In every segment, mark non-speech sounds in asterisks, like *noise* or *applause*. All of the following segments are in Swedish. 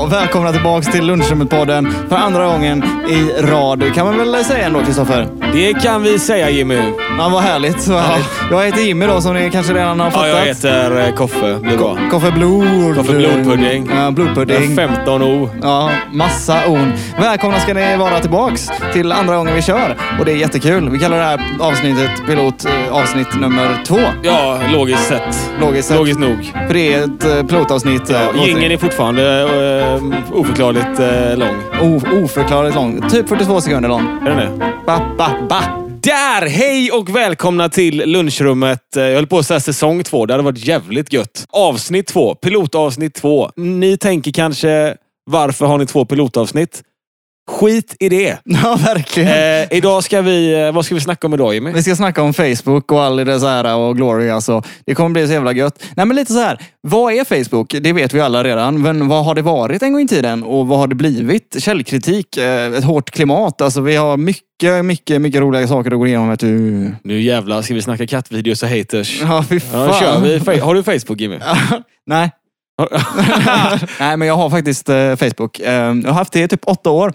och välkomna tillbaka till Lunchrummet-podden för andra gången i rad. Kan man väl säga ändå, Kristoffer? Det kan vi säga Jimmy. Ja, vad härligt. Vad härligt. Jag heter Jimmy då, som ni kanske redan har Ja, fattat. jag heter eh, Koffe. Det är bra. Koffe Blod. Koffe Blodpudding. Ja, blodpudding. 15 O. Ja, massa on. Välkomna ska ni vara tillbaks till andra gången vi kör. Och det är jättekul. Vi kallar det här avsnittet pilot eh, avsnitt nummer två. Ja, logiskt sett. Logiskt sett. Logiskt nog. För det är ett eh, pilotavsnitt. eh, återigen. Ingen är fortfarande eh, oförklarligt eh, lång. O- oförklarligt lång. Typ 42 sekunder lång. Är den det? Ba, ba, ba. Där! Hej och välkomna till lunchrummet. Eh, Jag höll på att säga säsong två. Det hade varit jävligt gött. Avsnitt två. Pilotavsnitt två. Ni tänker kanske, varför har ni två pilotavsnitt? Skit i det. *laughs* Ja, verkligen. Eh, idag ska vi... Eh, vad ska vi snacka om *laughs* idag Jimmy? Vi ska snacka om Facebook och all dess ära och glory. Alltså. Det kommer bli så jävla gött. Nej, men lite så här. Vad är Facebook? Det vet vi alla redan. Men vad har det varit en gång i tiden och vad har det blivit? Källkritik, eh, ett hårt klimat. Alltså, vi har mycket, mycket, mycket roliga saker att gå igenom. Vet du. Nu jävlar ska vi snacka kattvideos *laughs* och haters. Ja, fy Ja, fan. då kör *laughs* vi. Fe- Har du Facebook Jimmy? Nej. *laughs* Nej, men jag har faktiskt eh, Facebook. Eh, jag har haft det i typ åtta år.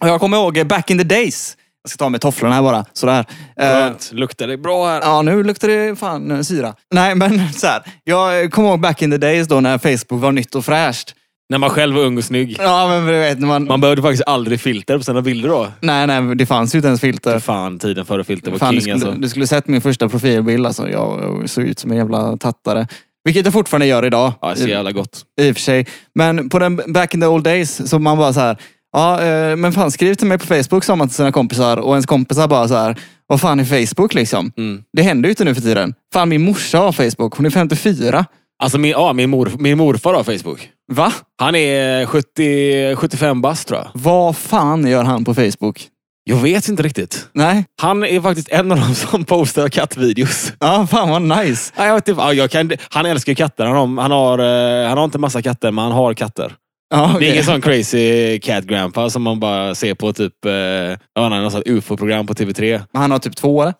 Och jag kommer ihåg eh, back in the days. Jag ska ta med tofflorna här bara. Sådär. Eh, Skönt. Luktar det bra här? Ja, nu luktar det fan eh, syra. Nej, men *laughs* så här. Jag kommer ihåg back in the days då när Facebook var nytt och fräscht. När man själv var ung och snygg. Ja, men du vet när man... Man behövde faktiskt aldrig filter på sina bilder då. Nej, nej, det fanns ju inte ens För filter. fan, tiden före filter var Fan, du, king skulle, alltså. du skulle sett min första profilbild. Alltså, jag jag såg ut som en jävla tattare. Vilket jag fortfarande gör idag. Ja, det är så jävla gott. I och för sig. Men på den back in the old days så man bara så här. Ja, eh, men fan skriv till mig på Facebook sa man till sina kompisar och ens kompisar bara så här. Vad fan är Facebook liksom? Mm. Det händer ju inte nu för tiden. Fan min morsa har Facebook. Hon är 54. Alltså min, ja, min, mor, min morfar har Facebook. Va? Han är 70, 75 bast tror jag. Vad fan gör han på Facebook? Jag vet inte riktigt. Nej? Han är faktiskt en av de som postar kattvideos. Ja, fan vad nice. Ja, jag vet inte, ja, jag kan, han älskar ju katter. Han har, han, har, eh, han har inte massa katter, men han har katter. Ja, Det är okej. ingen sån crazy cat grandpa som man bara ser på typ eh, jag vet inte, något sånt ufo-program på TV3. Men Han har typ två eller?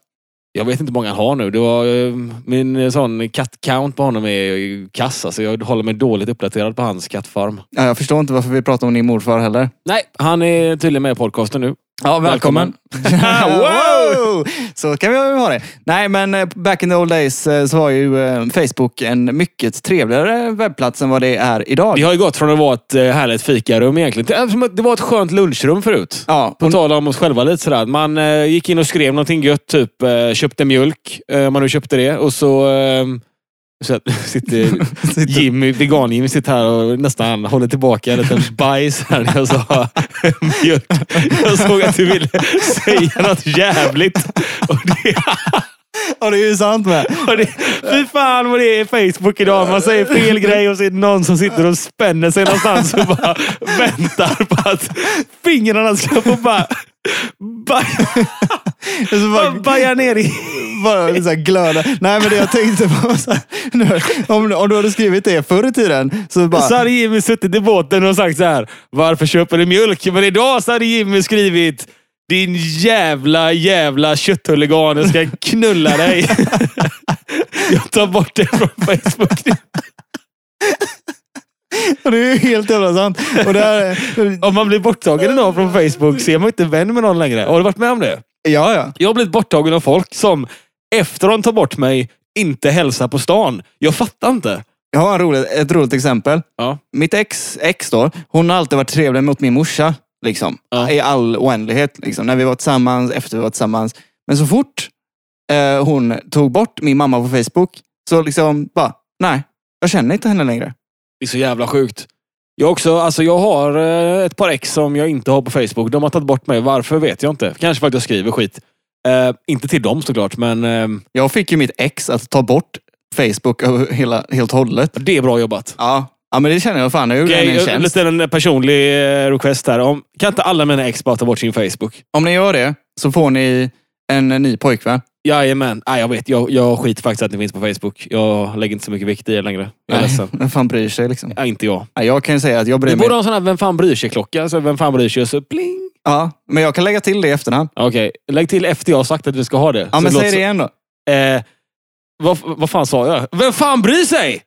Jag vet inte hur många han har nu. Det var, eh, min eh, sån kattcount på honom är kass. Alltså jag håller mig dåligt uppdaterad på hans kattfarm. Ja, jag förstår inte varför vi pratar om din morfar heller. Nej, han är tydligen med i podcasten nu. Ja, välkommen. *laughs* wow! *laughs* Så kan vi ha det. Nej, men eh, back in the old days eh, så var ju eh, Facebook en mycket trevligare webbplats än vad det är idag. Det har ju gått från att vara ett eh, härligt fikarum egentligen. till- eh, som att Det var ett skönt lunchrum förut. Ja, På och, tal om oss själva lite sådär. Man eh, gick in och skrev någonting gött, typ eh, köpte mjölk, eh, om man nu köpte det. Och så, eh, så att- *laughs* sitter Jimmy, vegan-Jimmy sitter här och nästan håller tillbaka en liten bajs här när jag sa mjölk. Jag såg att du ville säga något jävligt. Och det, *laughs* ja, det är ju sant med. och det, fy fan vad det är Facebook idag. Man säger fel grej och så är det någon som sitter och spänner sig någonstans och bara väntar på att fingrarna ska få bara baja, Och så bara- baja ner i... bara så här glöda. Nej, men det jag tänkte på *laughs* så här, nu, om, om du hade skrivit det förr i tiden så bara... Så hade Jimmy suttit i båten och sagt så här. Varför köper du mjölk? Men idag så hade Jimmy skrivit. Din jävla jävla kötthuligan. Jag ska knulla dig. Jag tar bort det från Facebook. nu. Och *laughs* Det är ju helt jävla sant. Och det här, Om man blir borttagen idag från Facebook så är man inte vän med någon längre. Har du varit med om det? ja, ja. Jag har blivit borttagen av folk som efter de tar bort mig inte hälsar på stan. Jag fattar inte. Jag har en rolig, ett roligt exempel. Ja. Mitt ex, ex då, hon har alltid varit trevlig mot min morsa. Liksom. Ja. I all oändlighet. Liksom. När vi var tillsammans, efter vi var tillsammans. Men så fort eh, hon tog bort min mamma på Facebook så liksom bara, nej, jag känner inte henne längre. Det är så jävla sjukt. Jag, också, alltså jag har eh, ett par ex som jag inte har på Facebook. De har tagit bort mig. Varför vet jag inte. Kanske för att jag skriver skit. Eh, inte till dem såklart, men eh, Jag fick ju mitt ex att ta bort Facebook över hela, helt och hållet. det är bra jobbat. Ja. ja, men det känner jag fan. Jag gjorde Okej, henne en jag- tjänst. lite en personlig eh, request här. Om, kan inte alla mina ex bara ta bort sin Facebook? Om ni gör det så får ni en eh, ny pojkvän. Jajamän. Nej, jag vet. Jag, jag skiter faktiskt att ni finns på Facebook. Jag lägger inte så mycket vikt i er längre. Jag är ledsen. Vem fan bryr sig liksom? Nej, inte jag. Ja, jag kan ju säga att jag bryr Du mig. borde ha en sån här Vem fan bryr sig-klocka. Så vem fan bryr sig? Så pling. Ja, men jag kan lägga till det i efterhand. Okej, lägg till efter jag har sagt att vi ska ha det. Ja, Så men låt säg så- det igen då. Eh, vad, vad fan sa jag? Vem fan bryr sig?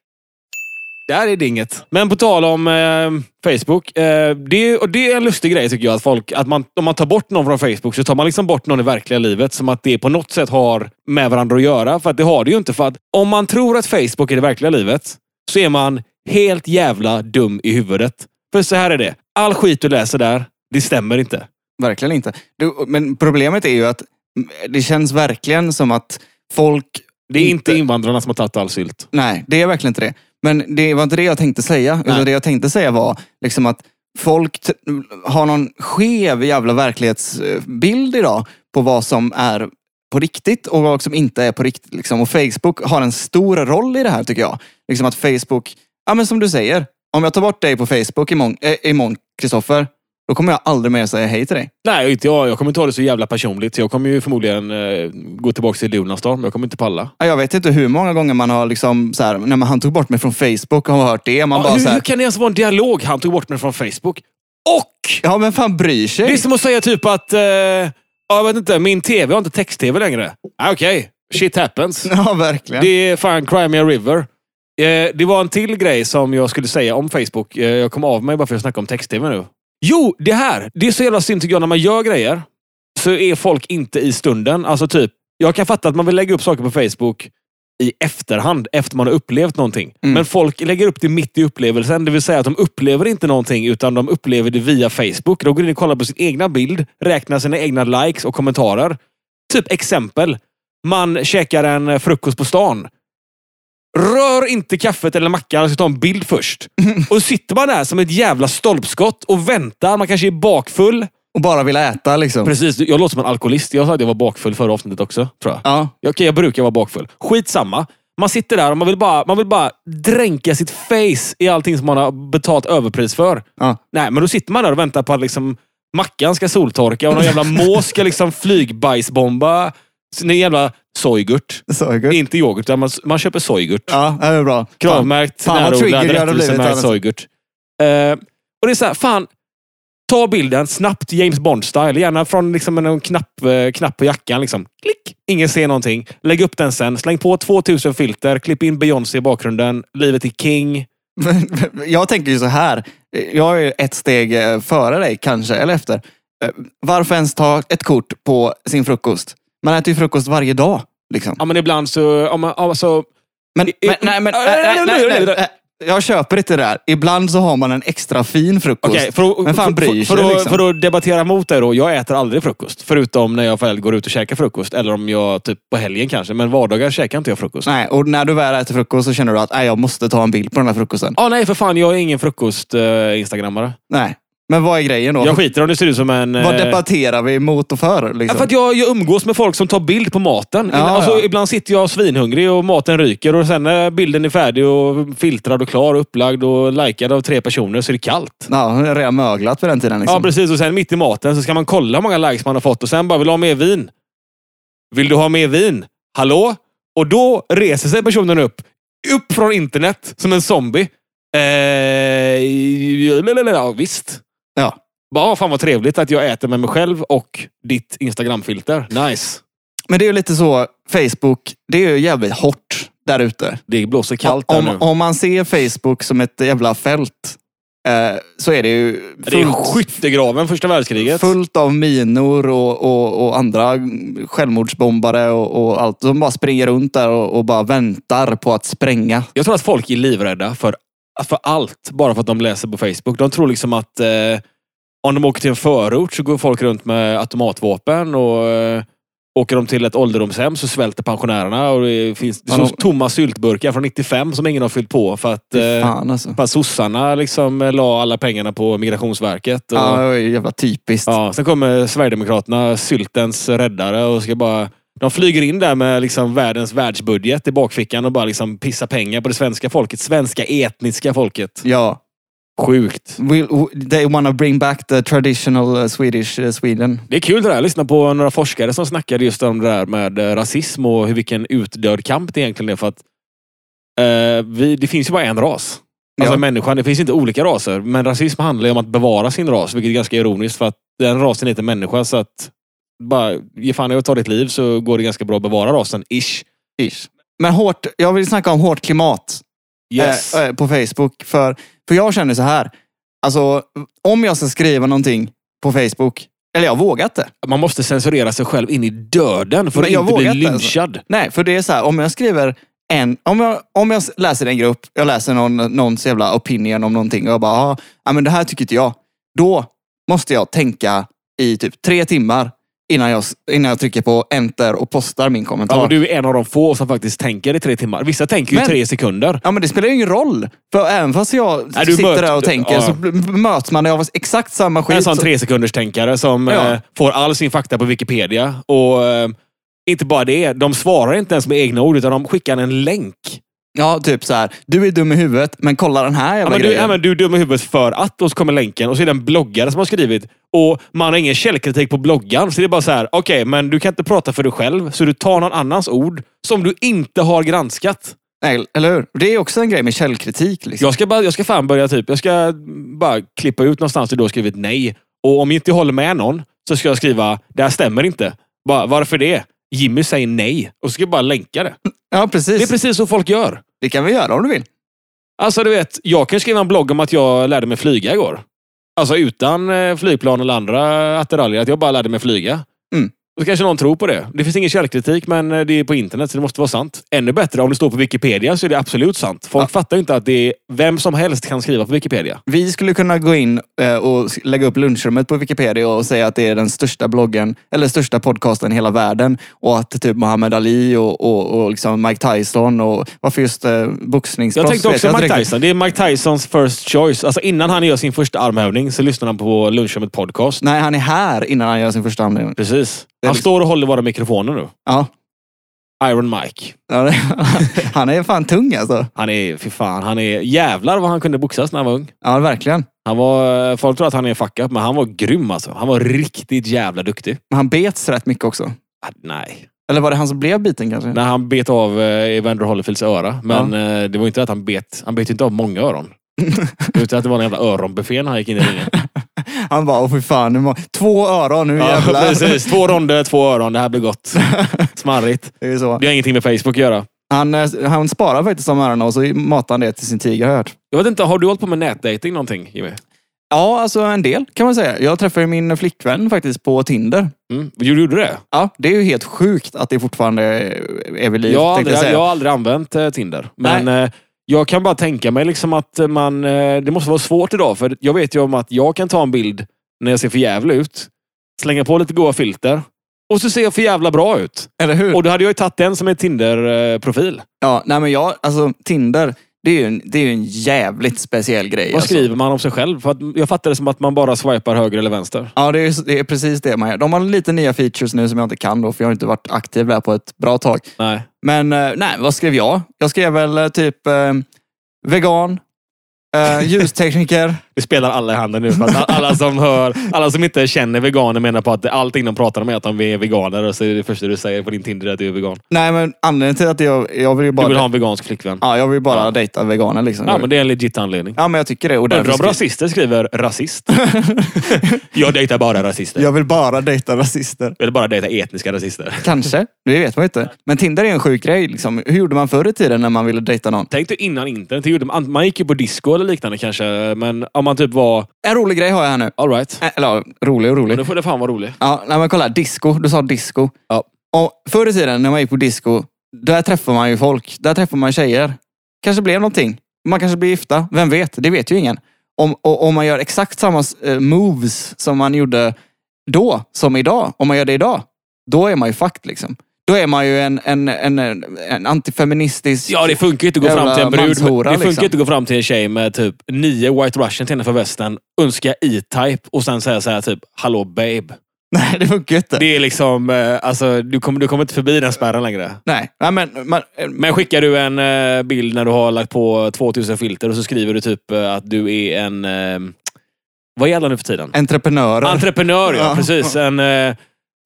Där är dinget. Men på tal om eh, Facebook. Eh, det, är, och det är en lustig grej tycker jag. Att folk, att man, om man tar bort någon från Facebook så tar man liksom bort någon i verkliga livet. Som att det på något sätt har med varandra att göra. För att det har det ju inte. För att om man tror att Facebook är det verkliga livet så är man helt jävla dum i huvudet. För så här är det. All skit du läser där, det stämmer inte. Verkligen inte. Du, men problemet är ju att mm, det känns verkligen som att folk... Det är inte Inte. invandrarna som har tagit all sylt. Nej, det är verkligen inte det. Men det var inte det jag tänkte säga. Utan det jag tänkte säga var liksom att folk t- har någon skev jävla verklighetsbild idag på vad som är på riktigt och vad som inte är på riktigt. Liksom. Och Facebook har en stor roll i det här tycker jag. Liksom att Facebook, ja men som du säger, om jag tar bort dig på Facebook imorgon, äh, imorgon Kristoffer, då kommer jag aldrig mer säga hej till dig. Nej, inte jag. Jag kommer inte ha det så jävla personligt. Jag kommer ju förmodligen eh, gå tillbaka till Lunarstorm. Jag kommer inte palla. Ja, Jag vet inte hur många gånger man har liksom så här, när man, han tog bort mig från Facebook och har hört det. Man Ja, bara hur, så hur här, kan det ens vara en dialog? Han tog bort mig från Facebook. Och! ja men fan bryr sig? Det är som att säga typ att... Eh, ja, jag vet inte, min tv har inte text-tv längre. Ah, Okej, shit happens. *laughs* Ja, verkligen. Det är fan Crimea River. Eh, det var en till grej som jag skulle säga om Facebook. Eh, jag kom av mig bara för att snacka om text-tv nu. Jo, det här. Det är så jävla synd tycker jag när man gör grejer. Så är folk inte i stunden. Alltså typ, jag kan fatta att man vill lägga upp saker på Facebook i efterhand, efter man har upplevt någonting. Mm. Men folk lägger upp det mitt i upplevelsen. Det vill säga att de upplever inte någonting, utan de upplever det via Facebook. De går in och kollar på sin egna bild, räknar sina egna likes och kommentarer. Typ exempel. Man käkar en eh, frukost på stan. Rör inte kaffet eller mackan, jag ska ta en bild *laughs* först. Och sitter man där som ett jävla stolpskott och väntar. Man kanske är bakfull. Och bara vill äta liksom. Precis, jag låter som en alkoholist. Jag sa att jag var bakfull förra avsnittet också, tror jag. Ja, Okej, jag brukar vara bakfull. Skitsamma. Man sitter där och man vill, bara, man vill bara dränka sitt face i allting som man har betalt överpris för. ja. Nej, men då sitter man där och väntar på att liksom, mackan ska soltorka och någon jävla *laughs* mås ska liksom flygbajsbomba sin jävla sojgurt. Så är det gott. Inte yoghurt, utan man, man köper sojgurt. Ja, det är bra. Fan. *laughs* Kravmärkt, Fan, vad närodlad, trigger jag hade blivit, rättvisemärkt Anders. sojgurt. Eh, och det är så här, fan. Ta bilden snabbt James Bond-style. Gärna från liksom en knapp, eh, knapp på jackan. Liksom. Klick! Ingen ser någonting. Lägg upp den sen. Släng på 2000 filter. Klipp in Beyoncé i bakgrunden. Livet är king. Jag tänker ju så här. Jag är ju ett steg eh, före dig kanske, eller efter. Eh, Varför ens ta ett kort på sin frukost? Man äter ju frukost varje dag. Liksom. Ja, men ibland så... Ja, men, alltså, Men, men, nej, men, nej, nej, nej, *laughs* nej, nej. Jag köper inte det där. Ibland så har man en extra fin frukost. Okej, för, att- Men fan bryr för, sig för, att- liksom. för att debattera mot dig då. Jag äter aldrig frukost. Förutom när jag väl går ut och käkar frukost. Eller om jag typ på helgen kanske. Men vardagar käkar inte jag frukost. Nej, och när du väl äter frukost så känner du att nej, jag måste ta en bild på den här frukosten. Ah, nej, för fan. Jag är ingen frukost-instagrammare. Nej. Men vad är grejen då? jag skiter om det ser ut som en... Vad eh, debatterar vi mot och för? Liksom? Ja, för att jag, jag umgås med folk som tar bild på maten. Ja, Ibland- alltså, ja. Ibland sitter jag svinhungrig och maten ryker och sen när bilden är färdig och filtrad och klar och upplagd och likad av tre personer så är det kallt. Ja, hon har redan möglat vid den tiden. Liksom. Ja, precis. Och sen mitt i maten så ska man kolla hur många likes man har fått och sen bara vill du ha mer vin. Vill du ha mer vin? Hallå? Och då reser sig personen upp. Upp från internet som en zombie. Eh, ja, visst. Ja. Bara, fan vad trevligt att jag äter med mig själv och ditt Instagram-filter. Nice. Men det är ju lite så, Facebook, det är ju jävligt hårt där ute. Det blåser kallt där nu. Om, om man ser Facebook som ett jävla fält eh, så är det ju det är fullt, skyttegraven första världskriget. fullt av minor och, och, och andra självmordsbombare och, och allt. De bara springer runt där och, och bara väntar på att spränga. Jag tror att folk är livrädda för, för allt bara för att de läser på Facebook. De tror liksom att eh, om de åker till en förort så går folk runt med automatvapen och eh, åker de till ett ålderdomshem så svälter pensionärerna och det finns det Ja, finns de- tomma syltburkar från 95 som ingen har fyllt på för att, Fy eh, Fan alltså. för att sossarna liksom eh, la alla pengarna på Migrationsverket. Och, Ja, det var ju jävla typiskt. Ja, sen kommer Sverigedemokraterna, syltens räddare och ska bara... De flyger in där med liksom världens världsbudget i bakfickan och bara liksom pissar pengar på det svenska folket. Svenska etniska folket. Ja. Sjukt. Will, w- they wanna bring back the traditional eh, Swedish eh, Sweden. Det är kul det där. Jag lyssnade på några forskare som snackade just om det där med eh, rasism och hur vilken utdöd kamp det egentligen är. För att eh, vi, det finns ju bara en ras. Alltså Ja. människan. Det finns inte olika raser. Men rasism handlar ju om att bevara sin ras, vilket är ganska ironiskt. För att den rasen heter människa. Så att bara ge fan i att ta ditt liv så går det ganska bra att bevara rasen. Ish. Ish. Men hårt, jag vill snacka om hårt klimat. Yes. eh, eh, på Facebook. För, för jag känner så här. Alltså, om jag ska skriva någonting på Facebook, eller jag vågar inte. Man måste censurera sig själv in i döden för Men att jag inte bli vågar inte, alltså. lynchad. Nej, för det är så här, om jag skriver en, om jag, om jag läser en grupp, jag läser någon, någons jävla opinion om någonting och jag bara, "Ah, ja men det här tycker inte jag. Då måste jag tänka i typ tre timmar innan jag, innan jag trycker på enter och postar min kommentar. Ja, men du är en av de få som faktiskt tänker i tre timmar. Vissa tänker ju Men- tre sekunder. Ja men det spelar ju ingen roll. För även fast jag Nej, du sitter möter- där och tänker ja. så bl- möts man av exakt samma skit. En sån Så- tre sekunders tänkare som Ja. eh, får all sin fakta på Wikipedia. Och eh, inte bara det, de svarar inte ens med egna ord utan de skickar en länk. Ja, typ så här. Du är dum i huvudet, men kolla den här Ja, jävla men du, grejen. ja, men du är dum i huvudet för att. Och så kommer länken och så är det en bloggare som har skrivit. Och man har ingen källkritik på bloggaren. Så det är bara så här, okej, men du kan inte prata för dig själv. Så du tar någon annans ord som du inte har granskat. Nej, eller hur? Det är också en grej med källkritik. Liksom. Jag ska, bara, jag ska fan börja typ, jag ska bara klippa ut någonstans där du har skrivit nej. Och om jag inte håller med någon så ska jag skriva, det här stämmer inte. Bara, varför det? Jimmy säger nej. Och så ska jag bara länka det. Ja, precis. Det är Det, precis så folk gör. kan vi göra om du vill. Alltså du vet, jag kan skriva en blogg om att jag lärde mig flyga igår. Alltså utan eh, flygplan eller andra attiraljer. Att jag bara lärde mig flyga. Mm. Och så kanske någon tror på det. Det finns ingen källkritik, men eh, det är på internet så det måste vara sant. Ännu bättre, om det står på Wikipedia så är det absolut sant. Folk fattar ju inte att det är, vem som helst kan skriva på Wikipedia. Vi skulle kunna gå in eh, och s- lägga upp lunchrummet på Wikipedia och säga att det är den största bloggen, eller största podcasten i hela världen. Och att typ Muhammad Ali och, och, och liksom Mike Tyson och varför just eh, boxningsproffs? Jag tänkte vet också inte Mike riktigt. Tyson. Det är Mike Tysons first choice. Alltså innan han gör sin första armhävning så lyssnar han på lunchrummet podcast. Nej, han är här innan han gör sin första anledning. Precis. Det är Han liksom- står och håller i våra mikrofoner nu. Ja. Iron Mike. Ja, det- *laughs* Han är fan tung alltså. Han är, fy fan, han är jävlar vad han kunde boxas när han var ung. Ja, verkligen. Han var, folk tror att han är fuck up, men han var grym alltså. Han var riktigt jävla duktig. Men Han bets rätt mycket också. Ah, Nej. Eller var det han som blev biten kanske? När han bet av eh, Evander Holyfields öra. Men eh, det var inte att han bet. Han bet ju inte av många öron. Utan att det var en jävla öronbuffé när han gick in i *laughs* ringen. Han bara, åh fy fan, nu må- två öron, nu ja, *laughs* jävlar. precis. Två ronder, två öron. Det här blir *laughs* gott. Smarrigt. Det är ju så. Det har ingenting med Facebook att göra. Han, eh, han sparar faktiskt de öronen och så matar han det till sin tiger har jag hört. Jag vet inte, har du hållit på med nätdating någonting Jimmy? Ja, alltså en del kan man säga. Jag träffade min flickvän faktiskt på Tinder. Mm. Gjorde du det? Ja, det är ju helt sjukt att det fortfarande är vid liv. Jag har, tänkte aldrig, säga. jag har aldrig använt eh, Tinder. Men eh, jag kan bara tänka mig liksom att eh, man, eh, det måste vara svårt idag. För jag vet ju om att jag kan ta en bild när jag ser för jävla ut. Slänga på lite goa filter. Och så ser jag för jävla bra ut. Eller hur? Och då hade jag ju tagit den som eh, en Tinder-profil. Ja, nej men jag, alltså Tinder, det är ju en, det är ju en jävligt speciell grej. Vad alltså. skriver man om sig själv? För att jag fattar det som att man bara swipar höger eller vänster. Ja, det är, det är precis det man gör. De har lite nya features nu som jag inte kan då, för jag har inte varit aktiv där på ett bra tag. Nej. Men eh, nej, vad skrev jag? Jag skrev väl eh, typ eh, vegan, *laughs* eh, ljustekniker. Vi spelar alla i handen nu. För att alla, som hör, alla som inte känner veganer menar på att allting de pratar om är att de är veganer. Och så är det första du säger på din Tinder att du är vegan. nej, men anledningen till att jag, jag vill ju bara, Du vill ha en vegansk flickvän. ja, jag vill bara Ja. dejta veganer. Liksom. Ja, men det är en legit anledning. ja, men jag tycker det. Och Undrar därför om *laughs* skri- rasister skriver rasist. jag dejtar bara rasister. jag vill bara dejta rasister. Eller bara dejtar etniska rasister. Kanske, det vet man ju inte. Men Tinder är en sjuk grej. Liksom. Hur gjorde man förr i tiden när man ville dejta någon? Tänk dig innan internet. gjorde man- Man gick ju på disco eller liknande kanske. Men om man typ var... En rolig grej har jag här nu. All right. Ä- Eller ja, rolig och Men rolig. då får det fan vara rolig. Ja, nej, men kolla, här. disco. Du sa disco. Ja. Och förr i tiden när man gick på disco, där träffar man ju folk. Där träffar man tjejer. Kanske blev någonting. Man kanske blir gifta. Vem vet? Det vet ju ingen. Om, och, om man gör exakt samma eh, moves som man gjorde då, som idag. Om man gör det idag, då är man ju fucked liksom. Då är man ju en, en, en, en, en antifeministisk... Ja, det funkar ju inte att gå Jävla fram till en brud. men manshora, Det funkar liksom. ju inte att gå fram till en tjej med typ nio white russians innanför västen, önska E-Type och sen säga så här typ “Hallå babe”. *laughs* Nej, det funkar ju inte. Det är liksom... eh, Alltså, du kommer, du kommer inte förbi den spärren längre. Nej, nej men, man, eh, Men skickar du en eh, bild när du har lagt på 2000 filter och så skriver du typ eh, att du är en... Eh, vad gäller nu för tiden? entreprenörer. Entreprenör, ja. Ja. Precis. En eh,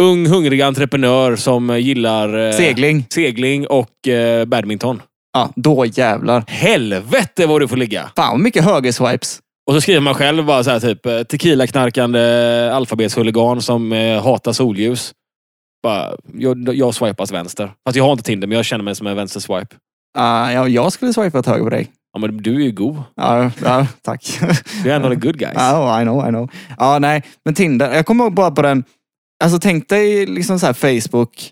ung, hungrig entreprenör som eh, gillar eh, Segling. segling och eh, badminton. Ja, då jävlar. Helvete vad du får ligga! Fan vad mycket högerswipes. Och så skriver man själv bara så här typ eh, tequila-knarkande alfabetshuligan som eh, hatar solljus. Bara, jag, jag swipas vänster. Fast jag har inte Tinder, men jag känner mig som en vänster-swipe. Uh, ja, jag Ah, skulle swipat höger på dig. Ja, men du är ju god. Ja, ja *laughs* tack. Du är en av the good guys. Ja, I know, I know. Ja, nej, men Tinder. Jag kommer ihåg bara på den. Alltså tänk dig liksom så här Facebook,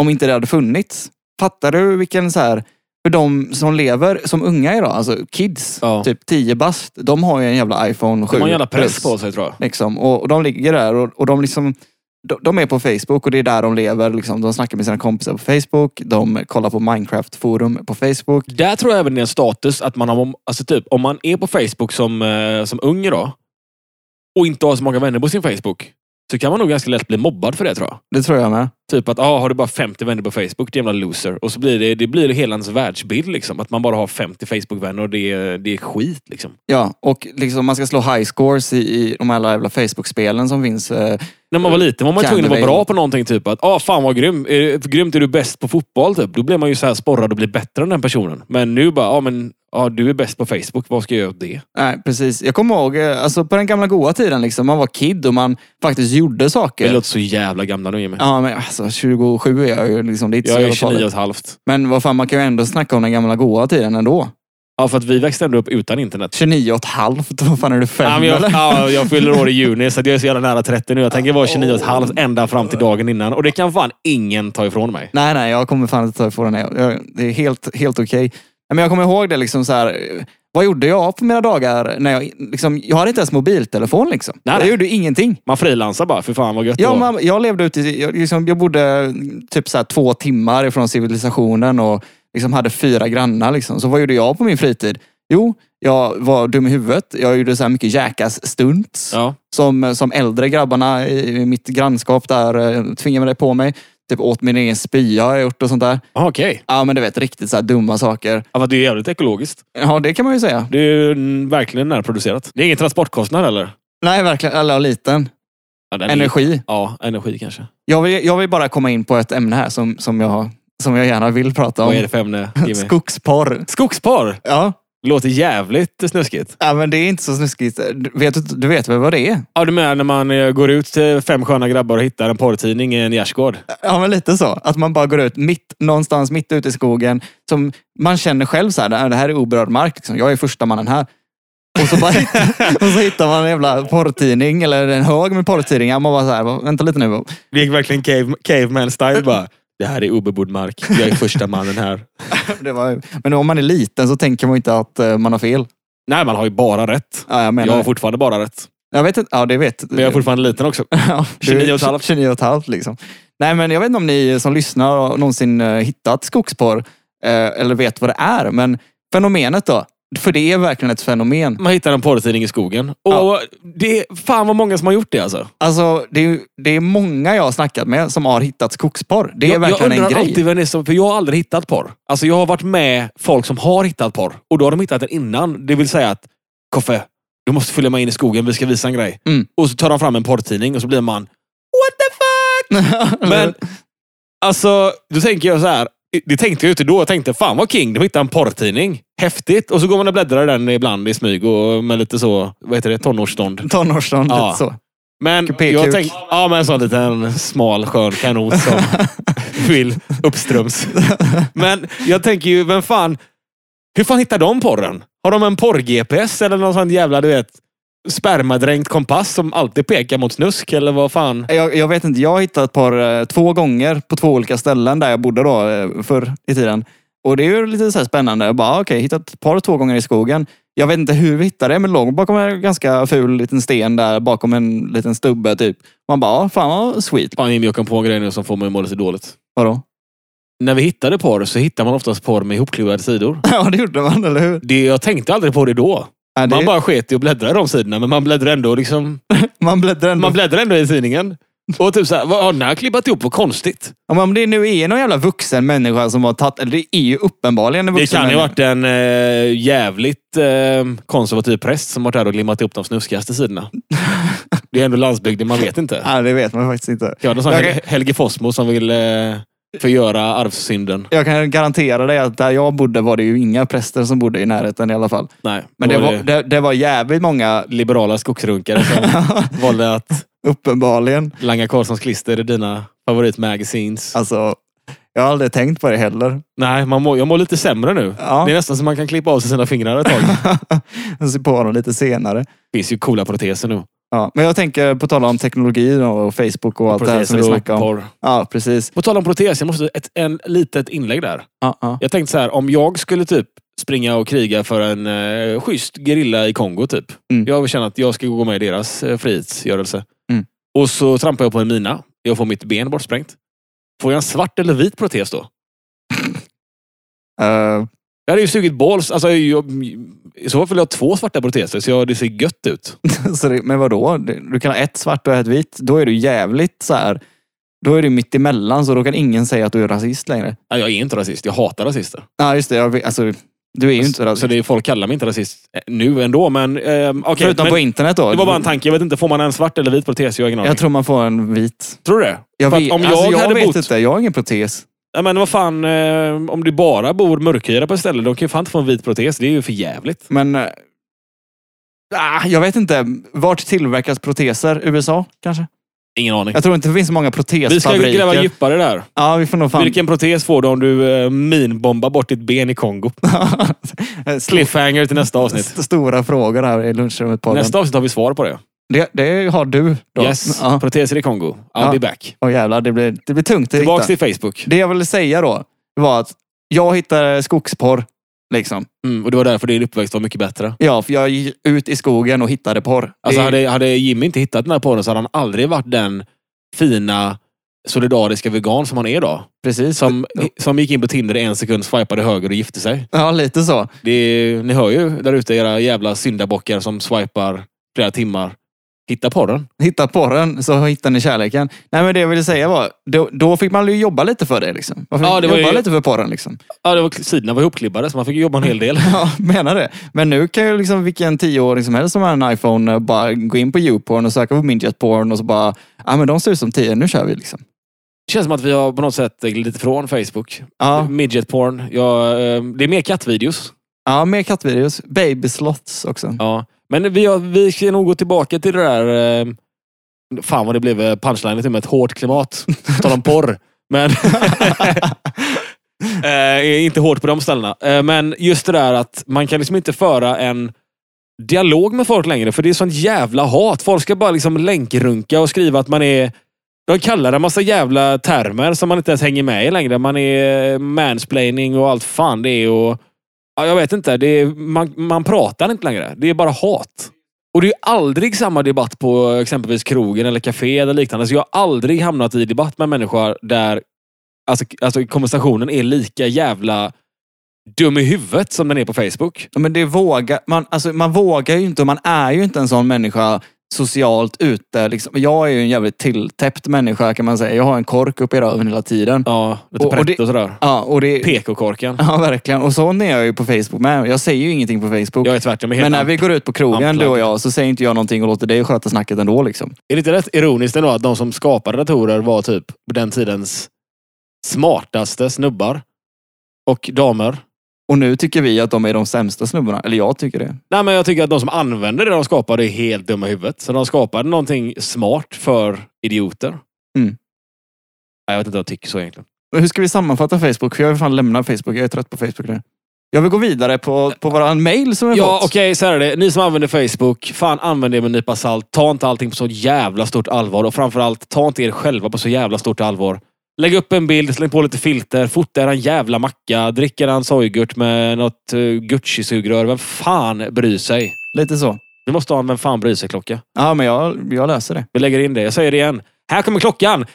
om inte det hade funnits. Fattar du vilken så här, för de som lever som unga idag, alltså kids, Ja. typ 10 bast, de har ju en jävla iPhone 7 De har en jävla press plus, på sig tror jag. Liksom, och, och de ligger där och, och de liksom de- de är på Facebook och det är där de lever. Liksom. De snackar med sina kompisar på Facebook. De kollar på Minecraft-forum på Facebook. Där tror jag även det är en status att man har, alltså typ, om man är på Facebook som, eh, som ung idag och inte har så många vänner på sin Facebook så kan man nog ganska lätt bli mobbad för det tror jag. Det tror jag med. Typ att, ah, har du bara 50 vänner på Facebook, det är jävla loser. Och så blir det, det blir hela ens världsbild liksom. Att man bara har 50 Facebook-vänner och det, är- det är skit liksom. Ja, och liksom man ska slå high scores i, i de här jävla Facebook-spelen som finns. eh, När man var liten var man Kan tvungen att det vara vara- bra på någonting. Typ att, ah, fan vad grym. Är, du- grymt är du bäst på fotboll. Typ. Då blir man ju så här sporrad och blir bättre än den personen. Men nu bara, ah, men, ah, du är bäst på Facebook. Vad ska jag göra åt det? Nej, precis. Jag kommer ihåg, eh, alltså på den gamla goa tiden, liksom, man var kid och man faktiskt gjorde Det saker. låter så jävla gamla nu Jimmy. Ja, men alltså 27 är jag ju. Liksom, det är inte så Jag är jävla 29 farligt. och ett halvt. Men vad fan, man kan ju ändå snacka om den gamla goa tiden ändå. Ja, för att vi växte ändå upp utan internet. 29 och ett halvt, vad fan är du fem Ja, men jag, eller? ja, jag fyller år i juni, så att jag är så jävla nära 30 nu. Jag tänker vara 29 och ett halvt ända fram till dagen innan. Och det kan fan ingen ta ifrån mig. Nej, nej, jag kommer fan inte ta ifrån den. här. Jag- Det är helt, helt okej. Men jag kommer ihåg det liksom så här. eh, Vad gjorde jag på mina dagar? När jag, liksom, jag hade inte ens mobiltelefon liksom. Nej, nej. Jag gjorde ingenting. Man frilansar bara. För fan vad gött det Ja, var. man, jag levde ute i, jag, liksom, jag bodde typ så här två timmar ifrån civilisationen och liksom hade fyra grannar. Liksom. Så vad gjorde jag på min fritid? Jo, jag var dum i huvudet. Jag gjorde så här mycket jäkas stunts Ja. som, som äldre grabbarna i i mitt grannskap där eh, tvingade det på mig. Typ åt min egen spya har jag gjort och sånt där. Ah, Okej. Okay. Ja men du vet, riktigt så här dumma saker. Ja, för att det är jävligt ekologiskt. Ja det kan man ju säga. Det är ju mm, verkligen närproducerat. Det är ingen transportkostnad eller? Nej verkligen, eller liten. Ja, den är- Energi. Ja, energi kanske. Jag vill, jag vill bara komma in på ett ämne här som, som, jag, som jag gärna vill prata Vad är om. det för *laughs* ämne, Jimmy? Skogsporr. Skogspar! Ja. Låter jävligt snuskigt. ja, men det är inte så snuskigt. Du vet, du vet väl vad det är? Ja, du menar när man eh, går ut till fem sköna grabbar och hittar en porrtidning i en gärdsgård? Ja, men lite så. Att man bara går ut mitt, någonstans mitt ute i skogen. Som man känner själv så här, "Nej, det här är oberörd mark. Liksom. Jag är första mannen här. Och så, bara, *laughs* och så hittar man en jävla porrtidning eller en hög med porrtidningar. Man bara så här, "Va, vänta lite nu. *laughs* Det gick verkligen cave, caveman-style bara. Det här är obebodd mark. Jag är första mannen här. Det var, men om man är liten så tänker man inte att eh, man har fel. Nej, man har ju bara rätt. Ja, jag Jag menar har jag, fortfarande bara rätt. jag vet inte, ja det vet Men jag är fortfarande liten också. Ja, du är 29 och ett halvt. 29 och ett halvt liksom. Nej men jag vet inte om ni som lyssnar har någonsin eh, hittat skogsporr eh, eller vet vad det är. Men fenomenet då? För det är verkligen ett fenomen. Man hittar en porrtidning i skogen. Och Ja. det är fan vad många som har gjort det alltså. Alltså det är, ju- det är många jag har snackat med som har hittat skogsporr. Det är jag, jag verkligen undrar en grej. alltid vem det är som... För jag har aldrig hittat porr. Alltså jag har varit med folk som har hittat porr. Och då har de hittat den innan. Det vill säga att, Koffe, du måste följa med in i skogen. Vi ska visa en grej. Mm. Och så tar de fram en porrtidning och så blir man, what the fuck? *laughs* Men, alltså, då tänker jag så här. Det tänkte jag ju inte då. Jag tänkte, fan vad king. De hittade en porrtidning. Häftigt. Och så går man och bläddrar i den ibland i smyg och med lite så, vad heter det, tonårsstånd. Tonårsson, Ja. lite typ så. Men Kupé-kuk. jag tänkte, ja men en sån liten smal skön kanot *laughs* som vill uppströms. Men jag tänker ju, vem fan, hur fan hittar de porren? Har de en porr-GPS eller någon sån jävla, du vet, spermadränkt kompass som alltid pekar mot snusk eller vad fan? Jag, jag vet inte, jag har hittat ett par eh, två gånger på två olika ställen där jag bodde då eh, förr i tiden. Och det är ju lite så här spännande. Jag bara, "Ah, okej, hittat ett par två gånger i skogen. Jag vet inte hur vi hittade det, men låg bakom en ganska ful liten sten där bakom en liten stubbe typ. Man bara, ja, fan vad sweet. Fan Jimmy, jag kom på en grej nu som får mig att må lite dåligt. Vadå? *laughs* När vi hittade porr så hittar man oftast porr med ihopkluade sidor. ja, det gjorde man, eller hur? Det, jag tänkte aldrig på det då. Ja, det, Man bara sket i att bläddra i de sidorna, men man bläddrar ändå liksom man bläddrar ändå. Man bläddrar ändå i tidningen. Och typ såhär, vad har den här klibbat ihop? Vad konstigt. Ja, men Om det nu är någon jävla vuxen människa som har tagit, eller det är ju uppenbarligen en Det vuxen kan ju människa. ha varit en eh, jävligt eh, konservativ präst som varit där och limmat ihop de *laughs* snuskigaste sidorna. det är ändå landsbygden, man vet inte. Ja, det vet man faktiskt inte. Jag hade en sån Jag Hel- Helge Fossmo som vill eh, förgöra arvssynden. Jag kan garantera dig att där jag bodde var det ju inga präster som bodde i närheten i alla fall. Nej, Men det då var, det, det var jävligt många, liberala skogsrunkare som *laughs* valde att uppenbarligen. Langa Carlssons klister i dina favoritmagasins. Alltså, Jag har aldrig tänkt på det heller. Nej, man mår, jag mår lite sämre nu. Ja. Det är nästan så man kan klippa av sig sina fingrar ett tag. Det *laughs* Jag ser på honom lite senare. finns ju coola proteser nu. Ja, men jag tänker på tal om teknologi då, och Facebook och allt det här som vi och snackar om. porr. Ja, precis. På tal om protes, jag måste ett en, litet inlägg där. Ja, ja. Jag tänkte så här, om jag skulle typ springa och kriga för en eh, schysst gerilla i Kongo typ. Mm. Jag känner att jag ska gå med i deras eh, frihetsgörelse. Mm. Och så trampar jag på en mina. Jag får mitt ben bortsprängt. Får jag en svart eller vit protes då? Eh, *laughs* Jag hade ju sugit balls. Alltså, jag, I så fall vill jag ha två svarta proteser så jag, det ser gött ut. så det, men vadå? Du du kan ha ett svart och ett vitt. Då är du jävligt så här. Då är du mitt emellan så då kan ingen säga att du är rasist längre. Nej, jag är inte rasist. Jag hatar rasister. Ja, just det. Jag, vet- alltså, du är ju inte rasist. Så det är, folk kallar mig inte rasist eh, nu ändå, men... ehm, okej, Förutom men på internet då. det var bara en tanke. Jag vet inte, får man en svart eller vit protes? Jag har ingen aning. Jag tror man får en vit. Tror du det? Jag För att vet, om jag alltså, jag hade vet bott... inte. Jag har ingen protes. Ja, men vad fan, eh, om du bara bor mörkhyade på ett ställe, de kan ju fan inte få en vit protes. Det är ju för jävligt. Men... eh, ah, jag vet inte. Vart tillverkas proteser? USA kanske? Ingen aning. Jag tror inte det finns så många Vi ska protesfabriker. gräva djupare där. Ja, vi får nog fan... *laughs* Vilken protes får du om du eh, minbombar bort ditt ben i Kongo? Stor- Cliffhanger till nästa avsnitt. st- Stora frågor här i lunchrummet på Nästa avsnitt har vi svar på det. det, det har du. Då. Yes, Ja. proteser i Kongo. I'll Ja. be back. Åh jävlar, det blir, det blir tungt att hitta. Tillbaks till Facebook. Det jag ville säga då var att jag hittade skogsporr. Liksom. Mm, och det var därför din uppväxt var mycket bättre. Ja, för jag gick ut i skogen och hittade porr. Alltså det, hade, hade Jimmy inte hittat den här porren så hade han aldrig varit den fina, solidariska vegan som han är idag. Precis. Som, som gick in på Tinder i en sekund, swipade höger och gifte sig. Ja, lite så. Det är, ni hör ju där ute era jävla syndabockar som swipar flera timmar. Hitta porren. Hitta porren så hittar ni kärleken. Nej, men det jag ville säga var, då, då fick man ju jobba lite för det. Liksom. Man fick Ja, det var jobba ju- lite för porren. Liksom. *laughs* Ja, det var, sidorna var ihopklibbade så man fick jobba en hel del. Ja, menar det. Men nu kan ju liksom vilken tioåring som helst som har en iPhone eh, bara gå in på YouPorn och söka på midgetporn och så bara, ja men de ser ut som tio, nu kör vi liksom. Det känns som att vi har på något sätt eh, glidit ifrån Facebook. Ja, Midgetporn. Ja, eh, det är mer kattvideos. ja mer kattvideos. Baby slots också. Ja. Men vi, har, vi ska nog gå tillbaka till det där... eh, Fan vad det blev eh, punchline till och med. Ett hårt klimat. På tal om porr. Men... eh, inte hårt på de ställena. Eh, men just det där att man kan liksom inte föra en dialog med folk längre. För det är sånt jävla hat. Folk ska bara liksom länkrunka och skriva att man är... De kallar det en massa jävla termer som man inte ens hänger med i längre. Man är eh, mansplaining och allt fan det är. Och... Ja, jag vet inte. Det är, man, man pratar inte längre. Det är bara hat. Och det är ju aldrig samma debatt på exempelvis krogen eller café eller liknande. Så jag har aldrig hamnat i debatt med människor där alltså, alltså konversationen är lika jävla dum i huvudet som den är på Facebook. Ja, Men det vågar man, alltså, man vågar ju inte och man är ju inte en sån människa socialt ute. Liksom. Jag är ju en jävligt tilltäppt människa kan man säga. Jag har en kork upp i röven hela tiden. Ja, lite Och- och pretto det- och sådär. Ja, och det... PK-korken. *laughs* Ja, verkligen. Och sån är jag ju på Facebook med. Jag säger ju ingenting på Facebook. Jag är tvärtom. Jag är Men helt när vi går ut på krogen, Unplugged. du och jag, så säger inte jag någonting och låter dig sköta snacket ändå. Liksom. Är det inte rätt ironiskt ändå att de som skapade datorer var typ på den tidens smartaste snubbar och damer? Och nu tycker vi att de är de sämsta snubbarna. Eller jag tycker det. Nej, men jag tycker att de som använder det de skapade är helt dumma i huvudet. Så de skapade någonting smart för idioter. Mm. Nej, jag vet inte vad jag tycker så egentligen. Men hur ska vi sammanfatta Facebook? För jag vill fan lämna Facebook. Jag är trött på Facebook nu. Jag vill gå vidare på, på våran mail som vi Ja, fått. okej, så här är det. Ni som använder Facebook, fan använd det med en nypa salt. Ta inte allting på så jävla stort allvar. Och framförallt, ta inte er själva på så jävla stort allvar. Lägg upp en bild, släng på lite filter, fota er en jävla macka, drick er en sojgurt med något uh, Gucci-sugrör. Vem fan bryr sig? Lite så. Vi måste ha en vem fan bryr sig-klocka. Ja, men jag, jag löser det. Vi lägger in det. Jag säger det igen. Här kommer klockan.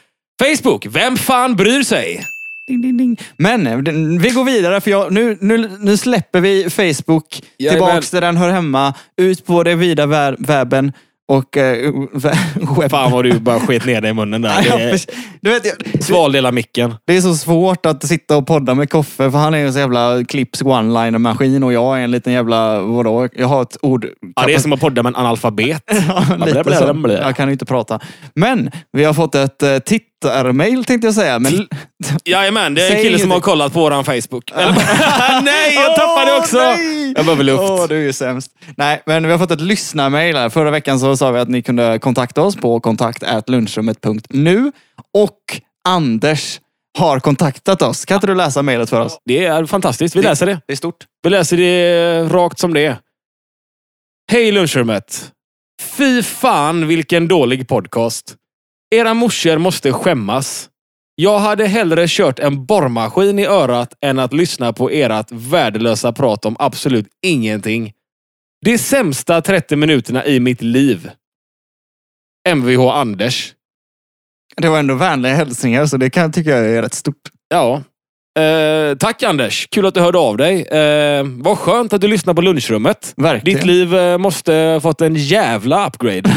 Facebook, vem fan bryr sig? Ding, ding, ding. Men eh, den- vi går vidare för jag, nu, nu, nu släpper vi Facebook Jajamän. tillbaks där den hör hemma. Ut på den vida vär- webben. Och eh, *laughs* vä- webben. Fan vad du bara sket ner dig i munnen *laughs* där. Ja, Det är- för- Du vet, jag, Sval del av micken. Det är så svårt att sitta och podda med Koffe för han är ju en så jävla clips one-liner-maskin och jag är en liten jävla, vadå, jag har ett ord... Ja, det är som att podda med en analfabet. Ja, *laughs* blä, lite blä, så. blä, blä. Jag kan ju inte prata. Men vi har fått ett eh, tittarmail tänkte jag säga. Men... Jajamän, det är en Säg kille som ingenting. har kollat på våran Facebook. Eller- *laughs* *laughs* nej, jag tappade Åh, också! nej! Jag behöver luft. Åh, du är ju sämst. Nej, men vi har fått ett lyssnarmail här. Förra veckan så sa vi att ni kunde kontakta oss på kontaktatlunchrummet.nu och Anders har kontaktat oss. Kan inte du läsa mejlet för oss? Det är fantastiskt. Vi läser det. Det är stort. Vi läser det rakt som det är. Hej lunchrummet! Fy fan vilken dålig podcast. Era morsor måste skämmas. Jag hade hellre kört en borrmaskin i örat än att lyssna på ert värdelösa prat om absolut ingenting. De sämsta 30 minuterna i mitt liv. Mvh Anders. Det var ändå vänliga hälsningar, så det kan, tycker jag är rätt stort. Ja. Eh, tack Anders! Kul att du hörde av dig. Eh, vad skönt att du lyssnar på lunchrummet. Verkligen. Ditt liv eh, måste ha fått en *laughs* jävla upgrade.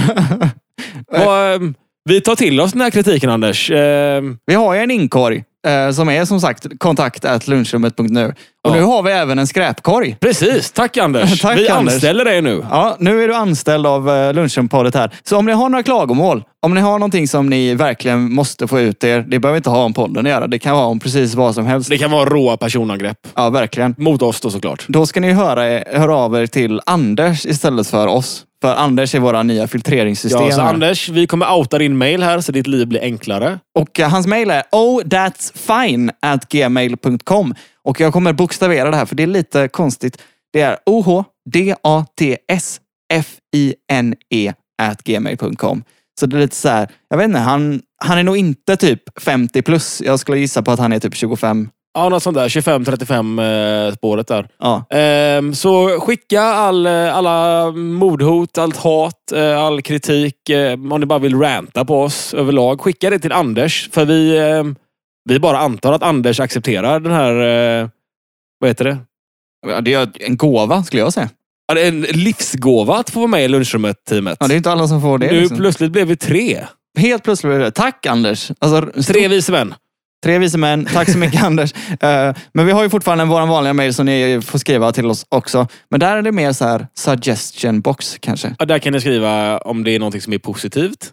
Och, ehm, vi tar till oss den här kritiken Anders. Ehm, Vi har ju en inkorg eh, som är som sagt kontakt at lunchrummet.nu. Och Ja. nu har vi även en skräpkorg. precis, tack Anders. *laughs* Tack, vi Anders. anställer dig nu. Ja, nu är du anställd av eh, Lunchrumpodet här. Så om ni har några klagomål, om ni har någonting som ni verkligen måste få ut er, det behöver inte ha om podden att göra. Det kan vara om precis vad som helst. Det kan vara råa personangrepp. Ja, verkligen. Mot oss då såklart. Då ska ni höra, er- höra av er till Anders istället för oss. För Anders är våra nya filtreringssystem. Ja, så här. Anders, vi kommer outa din mail här så ditt liv blir enklare. Och eh, hans mejl är ohthat'sfine@gmail.com. Och jag kommer bokstavera det här för det är lite konstigt. Det är o-h-d-a-t-s-f-i-n-e at gmail.com. Så det är lite så här, jag vet inte, han, han är nog inte typ 50 plus. Jag skulle gissa på att han är typ 25. Ja, något sånt där. 25-35 eh, spåret där. Ja, Ehm, så skicka all, eh, alla mordhot, allt hat, eh, all kritik. eh, Om ni bara vill ranta på oss överlag. Skicka det till Anders. För vi, ehm, vi bara antar att Anders accepterar den här... eh, Vad heter det? Ja, det är en gåva skulle jag säga. Ja, det är En livsgåva att få vara med i lunchrummet-teamet. Ja, det är inte alla som får det. nu Liksom. plötsligt blev vi tre. Helt plötsligt blev det Tack Anders! Alltså, Tre vise män. Tre vise män. Tack så *laughs* mycket Anders. Eh, men vi har ju fortfarande vår vanliga mail som ni får skriva till oss också. Men där är det mer så här suggestion box kanske. Ja, där kan ni skriva om det är någonting som är positivt.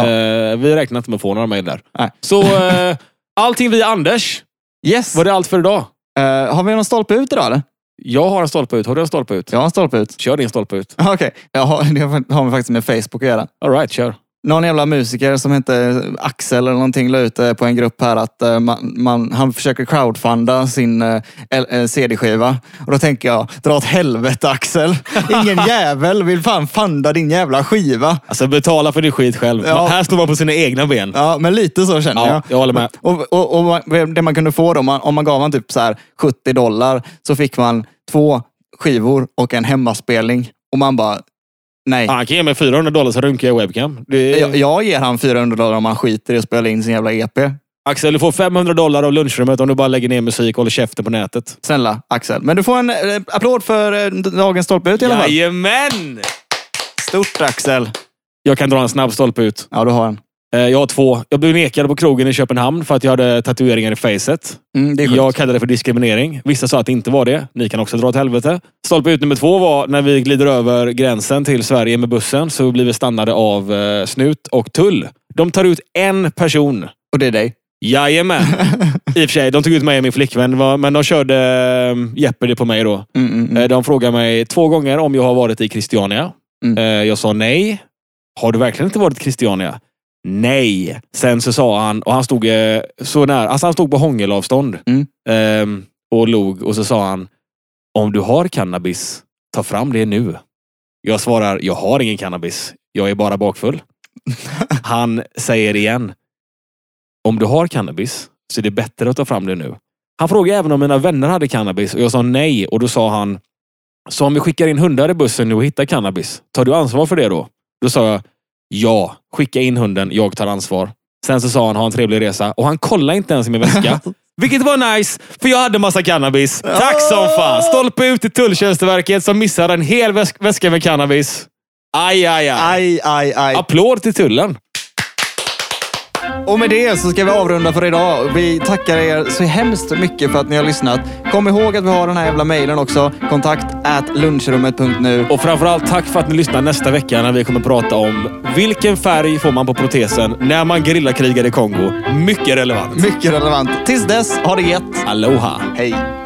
Ja. Eh, vi räknar inte med att få några mejl där. Nej. Så eh, allting via Anders. Yes! Var det allt för idag? Eh, har vi någon stolpe ut idag eller? Jag har en stolpe ut. Har du en stolpe ut? Jag har en stolpe ut. Kör din stolpe ut. *laughs* Okej, Jaha, det har har vi faktiskt med Facebook att göra. All right, kör. Någon jävla musiker som hette Axel eller någonting la ut eh, på en grupp här att eh, man, man, han försöker crowdfunda sin eh, L- eh, CD-skiva. Och då tänker jag, dra åt helvete *laughs* Axel. Ingen jävel vill fan funda din jävla skiva. Alltså betala för din skit själv. Ja. Här står man på sina egna ben. Ja, men lite så känner Ja, jag. jag håller med. Och, och, och man- det man kunde få då, om man, om man gav man typ så här 70 dollar så fick man två skivor och en hemmaspelning. Och man bara, nej. Han kan ge mig 400 dollar så runkar jag webcam. Det är... Jag, jag ger han 400 dollar om han skiter i att spela in sin jävla E EP. Axel, du får 500 dollar av lunchrummet om du bara lägger ner musik och håller käften på nätet. Snälla Axel. Men du får en eh, applåd för eh, dagens stolpe ut i alla fall. Jajamän! Stort Axel. Jag kan dra en snabb stolpe ut. Ja, du har en. Eh, Jag har två. Jag blev nekad på krogen i Köpenhamn för att jag hade tatueringar i facet. Mm, det är sjukt. Jag kallade det för diskriminering. Vissa sa att det inte var det. Ni kan också dra åt helvete. Stolpe ut nummer två var när vi glider över gränsen till Sverige med bussen så blir vi stannade av eh, snut och tull. De tar ut en person. Och det är dig. *laughs* Jajamän! I och för sig, de tog ut mig och min flickvän, va, men de körde eh, Jeopardy på mig då. Mm, mm, mm. Eh, De frågade mig två gånger om jag har varit i Christiania. Mm. Eh, Jag sa nej. Har du verkligen inte varit i Christiania? Nej. Sen så sa han, och han stod eh, så nära, alltså han stod på hångelavstånd Mm. Ehm, och log och så sa han, om du har cannabis, ta fram det nu. Jag svarar, jag har ingen cannabis. Jag är bara bakfull. han säger igen, om du har cannabis så är det bättre att ta fram det nu. Han frågade även om mina vänner hade cannabis och jag sa nej och då sa han Så om vi skickar in hundar i bussen nu och hittar cannabis, tar du ansvar för det då? Då sa jag ja, skicka in hunden, jag tar ansvar. Sen så sa han ha en trevlig resa och han kollade inte ens i min väska. Vilket var nice, för jag hade massa cannabis. Tack som fan! Stolpe ut till Tulltjänsteverket som missade en hel väs- väska med cannabis. Aj, aj, aj. Aj, aj, aj. Applåd till tullen. Och med det så ska vi avrunda för idag. Vi tackar er så hemskt mycket för att ni har lyssnat. Kom ihåg att vi har den här jävla mejlen också. Kontakt at lunchrummet.nu. Och framförallt tack för att ni lyssnar nästa vecka när vi kommer prata om vilken färg får man på protesen när man gerillakrigar i Kongo. Mycket relevant. Mycket relevant. Tills dess, ha det gett. Aloha! Hej.